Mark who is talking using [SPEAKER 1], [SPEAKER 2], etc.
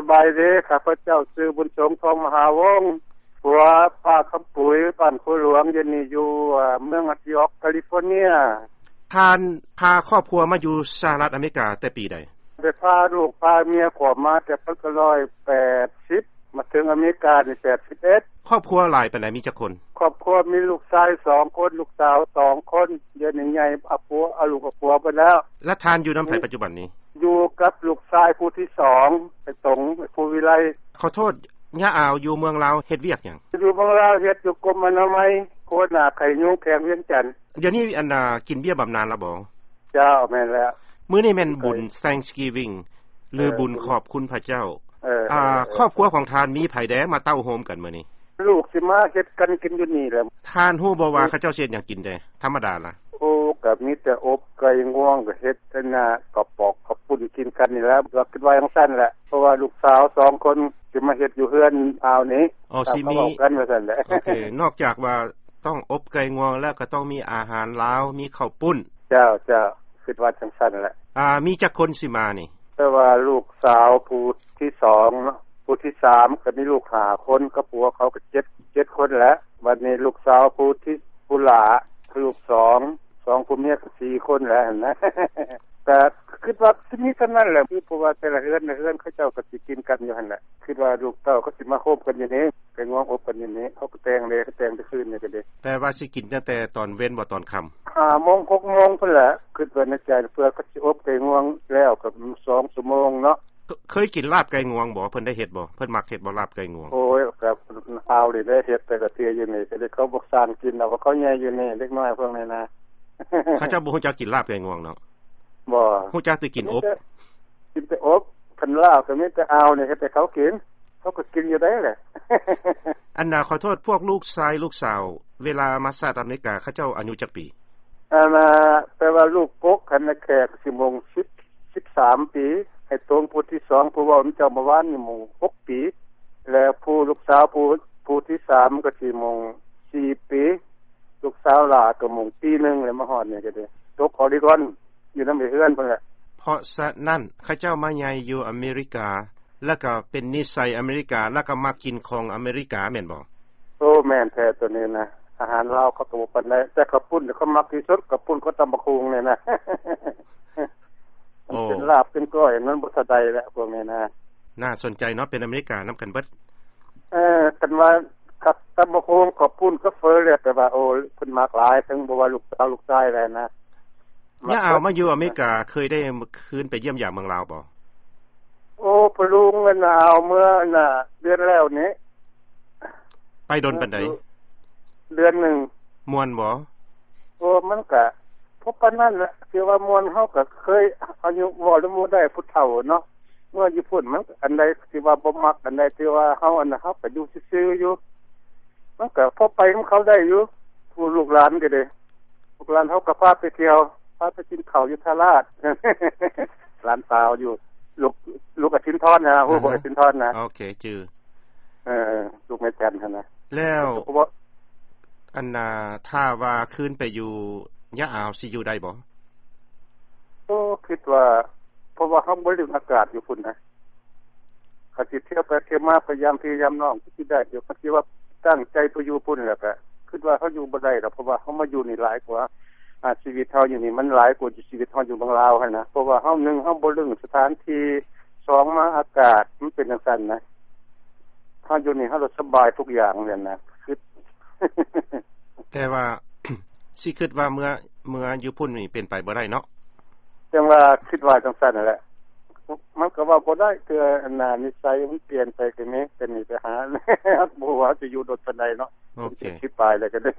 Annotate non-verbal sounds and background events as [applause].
[SPEAKER 1] สบายดีข้าพเจ้าชื่อบุญสงทองมหาวงศ์หัวผ้าคำปุ๋ยบ้านคุยหลวงเย็นนี้อยู่อ่าเมืองอัตยอกแคลิฟอร์เนีย
[SPEAKER 2] ทานพาครอบครัวมาอยู่สหรัฐอเมริกาแต่ปีใด
[SPEAKER 1] ไปพาลูกพาเมียขอมาแต่พักร้อยแปดสิบมาถึงอเมริกาในแปดสิบเอ็ด
[SPEAKER 2] ครอบครัวหลายปานใดมีจักคน
[SPEAKER 1] ครอบครัวมีลูกชายสองคนลูกสาวสองคนเดือนหนึ่งใหญ่อาปัวเอาลูกอาปัวไปแล้ว
[SPEAKER 2] และทานอยู่น้ำไผปัจจุบันนี้
[SPEAKER 1] อยู่กับลูกชายผู้ที่สองไปสงไปภูวิไล
[SPEAKER 2] ขอโทษย่าอาวอยู่เมืองลาวเฮ็ดเวียกหยัง
[SPEAKER 1] อยู่บางราวเฮ็ดอยู่กรมอนามัยโคตรหนาไข่ยุงแขงเวียงจันทน์
[SPEAKER 2] เดี๋ยวนี้อันน่ะกินเบี้ยบำนาญและบ่
[SPEAKER 1] เจ้าแม่นแล้ว
[SPEAKER 2] มื้อนี้แม่นบุญ Thanksgiving หรือบุญขอบคุณพระเจ้า
[SPEAKER 1] เออ
[SPEAKER 2] อ่า ครอบครัวของทานมีไผแดมาเต้าโฮมกันมื้อนี้
[SPEAKER 1] ลูกสิมาเฮ็ดกันกินอยู่นี่แหละ
[SPEAKER 2] ทานฮู้บ่ว่าเขาเจ้าสิเฮ็ดหยังกินแดธรรมดาล่ะ
[SPEAKER 1] โอ้ก็มีแต่อบไก่ง่วงก็เฮ็ดแต่หน้ากระปอกกระปุ่นกินกันนี่แหล้วเราคิดว่าจังซั่นแหละเพราะว่าลูกสาวสองคนสิมาเฮ็ดอยู่เฮือนอาวนี้
[SPEAKER 2] อ๋อสิมี
[SPEAKER 1] ตาเขาบอกกันว่าซั่นแหละ
[SPEAKER 2] โอเค นอกจากว่าต้องอบไก่งวงแล้วก็ต้องมีอาหารลาว มีข้าวปุ้น
[SPEAKER 1] เจ้าเจ้าคิดว่าจังซั่นแหละ
[SPEAKER 2] อ่า มีจักคนสิมานี่
[SPEAKER 1] แต่ว่าลูกสาวผู้ที่สองเนอะผู้ที่สามก็มีลูกหาคนก็ผัวเขาก็เจ็ดเจ็ดคนแล้ววันนี้ลูกสาวผู้ที่ผู้หลาคือลูกสองสองผู้เมียก็สี่คนแล้ว [laughs] นะ แต่คิดว่าสิมีเท่านั้นแหละคือเพราะว่าแต่ละเฮือนละเฮือนเขาเจ้าก็สิกินกันอยู่หั่นแหละคิดว่าลูกเต้าก็สิมาโคบกันอยู่นี้ไปง้วงอบกันอยู่นี้เขาก็แต่งเลยก็แต่งไปคืนนี่ก็เด้
[SPEAKER 2] แปลว่าสิกินตั้งแต่ตอนเว้นบ่ตอนค่
[SPEAKER 1] ห้าโมงหกโมงพุ่นแหละคิดว่าในใจเพื่อเขาสิอบไปง่วงแล้วก็สองชั่วโมงเนาะ
[SPEAKER 2] ำเคเคยกินลาบไก่งวงบ่เพิ่นได้เฮ็ดบ่เพิ่นมักเฮ็ดบ่ลาบไก่งวง [laughs]
[SPEAKER 1] โอ้ยครับเอาดิได้เฮ็ดแต่กะเทียอยู่นี่ก็ได้เขาบอกสานกินเอาว่าเขาแย่อยู่นี่เล็กน้อยพวกนี้นะ [laughs]
[SPEAKER 2] เขาเจ้าบ่ฮู้จักกินลาบไก่งวงเนาะ
[SPEAKER 1] บ่
[SPEAKER 2] ฮู้จักแต่กินอบ
[SPEAKER 1] กินแต่อบคันลาวก็มีแต่เอานี่เฮ็ดแต่เขากิน เขาก็กินอยู่ได้แหละ [laughs]
[SPEAKER 2] อันน่ะขอโทษพวกลูกชายลูกสาว เวลามาสหรัฐอเมริกาเขาเจ้าอายุจักปี
[SPEAKER 1] อันน่ะแปลว่าลูกกกคันนะแขกสิโมง10 13 ปีไอ้ตรงผู้ที่สองผู้เว่ามันเจ้าเมื่อวานนี่โมง6ปี แล้วผู้ลูกสาวผู้ผู้ที่สามก็สิโมง4ปี ลูกสาวหลาก็โมงปีหนึงแล้วมาฮอดนี่ก็ได้ตกออริกอนอยู่นำเฮือนเพิ่นแหละ
[SPEAKER 2] เพราะฉะนั้นเขาเจ้ามาใหญ่อยู่อเมริกา แล้วก็เป็นนิสัยอเมริกาแล้วก็มักกินของอเมริกาแม่นบ่
[SPEAKER 1] โอ้แม่นแท้ตัวนี้นะอาหารลาวเขาก็บ่ปานใดแต่ข้าวปุ้นเขามักที่สุดข้าวปุ้นเขาตำบักหุงเนี่ยนะ [laughs] มันเป็นลาบเป็นก้อยมันบ่สะใดแหละพวกนี้นะ
[SPEAKER 2] น่าสนใจเนาะเป็นอเมริกานำกันเบิด
[SPEAKER 1] เออกันว่าครับตำบกโคงขอบคุณก็เฟอเลยแต่ว่าโอ้เพิ่นมากหลายทั้งบ่ว่าลูกสาวลูกชายแล้วนะ
[SPEAKER 2] ย่าเอามาอยู่อเมริกาเคยได้คืนไปเยี่ยมยามเมืองลาวบ่
[SPEAKER 1] โอ้พะลุงมันหนาวเมื่อน่ะ เดือนแล้วนี้
[SPEAKER 2] ไปดนปานใด
[SPEAKER 1] เดือนหนึ่ง
[SPEAKER 2] ม่วนบ่
[SPEAKER 1] โอ้มันก็พบปานนั้นแหละคือว่ามวลเฮาก็เคยอายุบ่หรือบ่ได้ผู้เฒ่าเนาะเมื่อญี่ปุ่นมันก็อันใดที่ว่าบ่มักอันใดที่ว่าเฮาอันน่ะเฮาก็อยู่ซื่อๆอยู่มันก็พอไปของเขาได้อยู่ผู้ลูกหลานก็ได้ พวกหลานเขาก็พาไปเที่ยวพาไปกินข้าวอยู่ทาราช [laughs] หลานสาวอยู่ ลูกลูกอาทินทอนนะผู้บอกอาทินทอนนะ
[SPEAKER 2] โอเคจือ
[SPEAKER 1] เออลูกแม่จันทร์นะ
[SPEAKER 2] แล้ว
[SPEAKER 1] เพราะว่า
[SPEAKER 2] อันนาถ้าว่าคืนไปอยู่ยะอาวสิอยู่ได้บ่
[SPEAKER 1] ก็คิดว่าเพราะว่าเขาบ่ได้อากาศอยู่พุ่นนะเขาสิเที่ยวไปเที่ยวมาพยายามพยายามน้องก็สิได้อยู่ก็คิดว่าตั้งใจไปอยู่พุ่นแล้วก็คิดว่าเขาอยู่บ่ได้ดอกเพราะว่าเขามาอยู่นี่หลายกว่าอาชีวิตเฮาอยู่นี่มันหลายกว่าชีวิตเฮาอยู่บางลาวหั่นนะเพราะว่าเฮาหนึ่งเฮาบ่เรื่องสถานที่สองมาอากาศมันเป็นจังซั่นนะเฮาอยู่นี่เฮาสบายทุกอย่างเลยนะคือ
[SPEAKER 2] แต่ว่า [coughs] สิคิดว่าเมื่อเมื่ออยู่พุ่นนี่เป็นไปบ่ได้เนาะ
[SPEAKER 1] จังว่าคิดว่าจังซั่นนั่นแหละ มันก็ว่าบ่ได้คืออันน่ะนิสัยมันเปลี่ยนไปคือนี้เป็น [laughs] นี่ไปหา บ่ว่าจะอยู่โดดปานใดเนาะ
[SPEAKER 2] โอเค
[SPEAKER 1] คิดปลายเลยก็ได้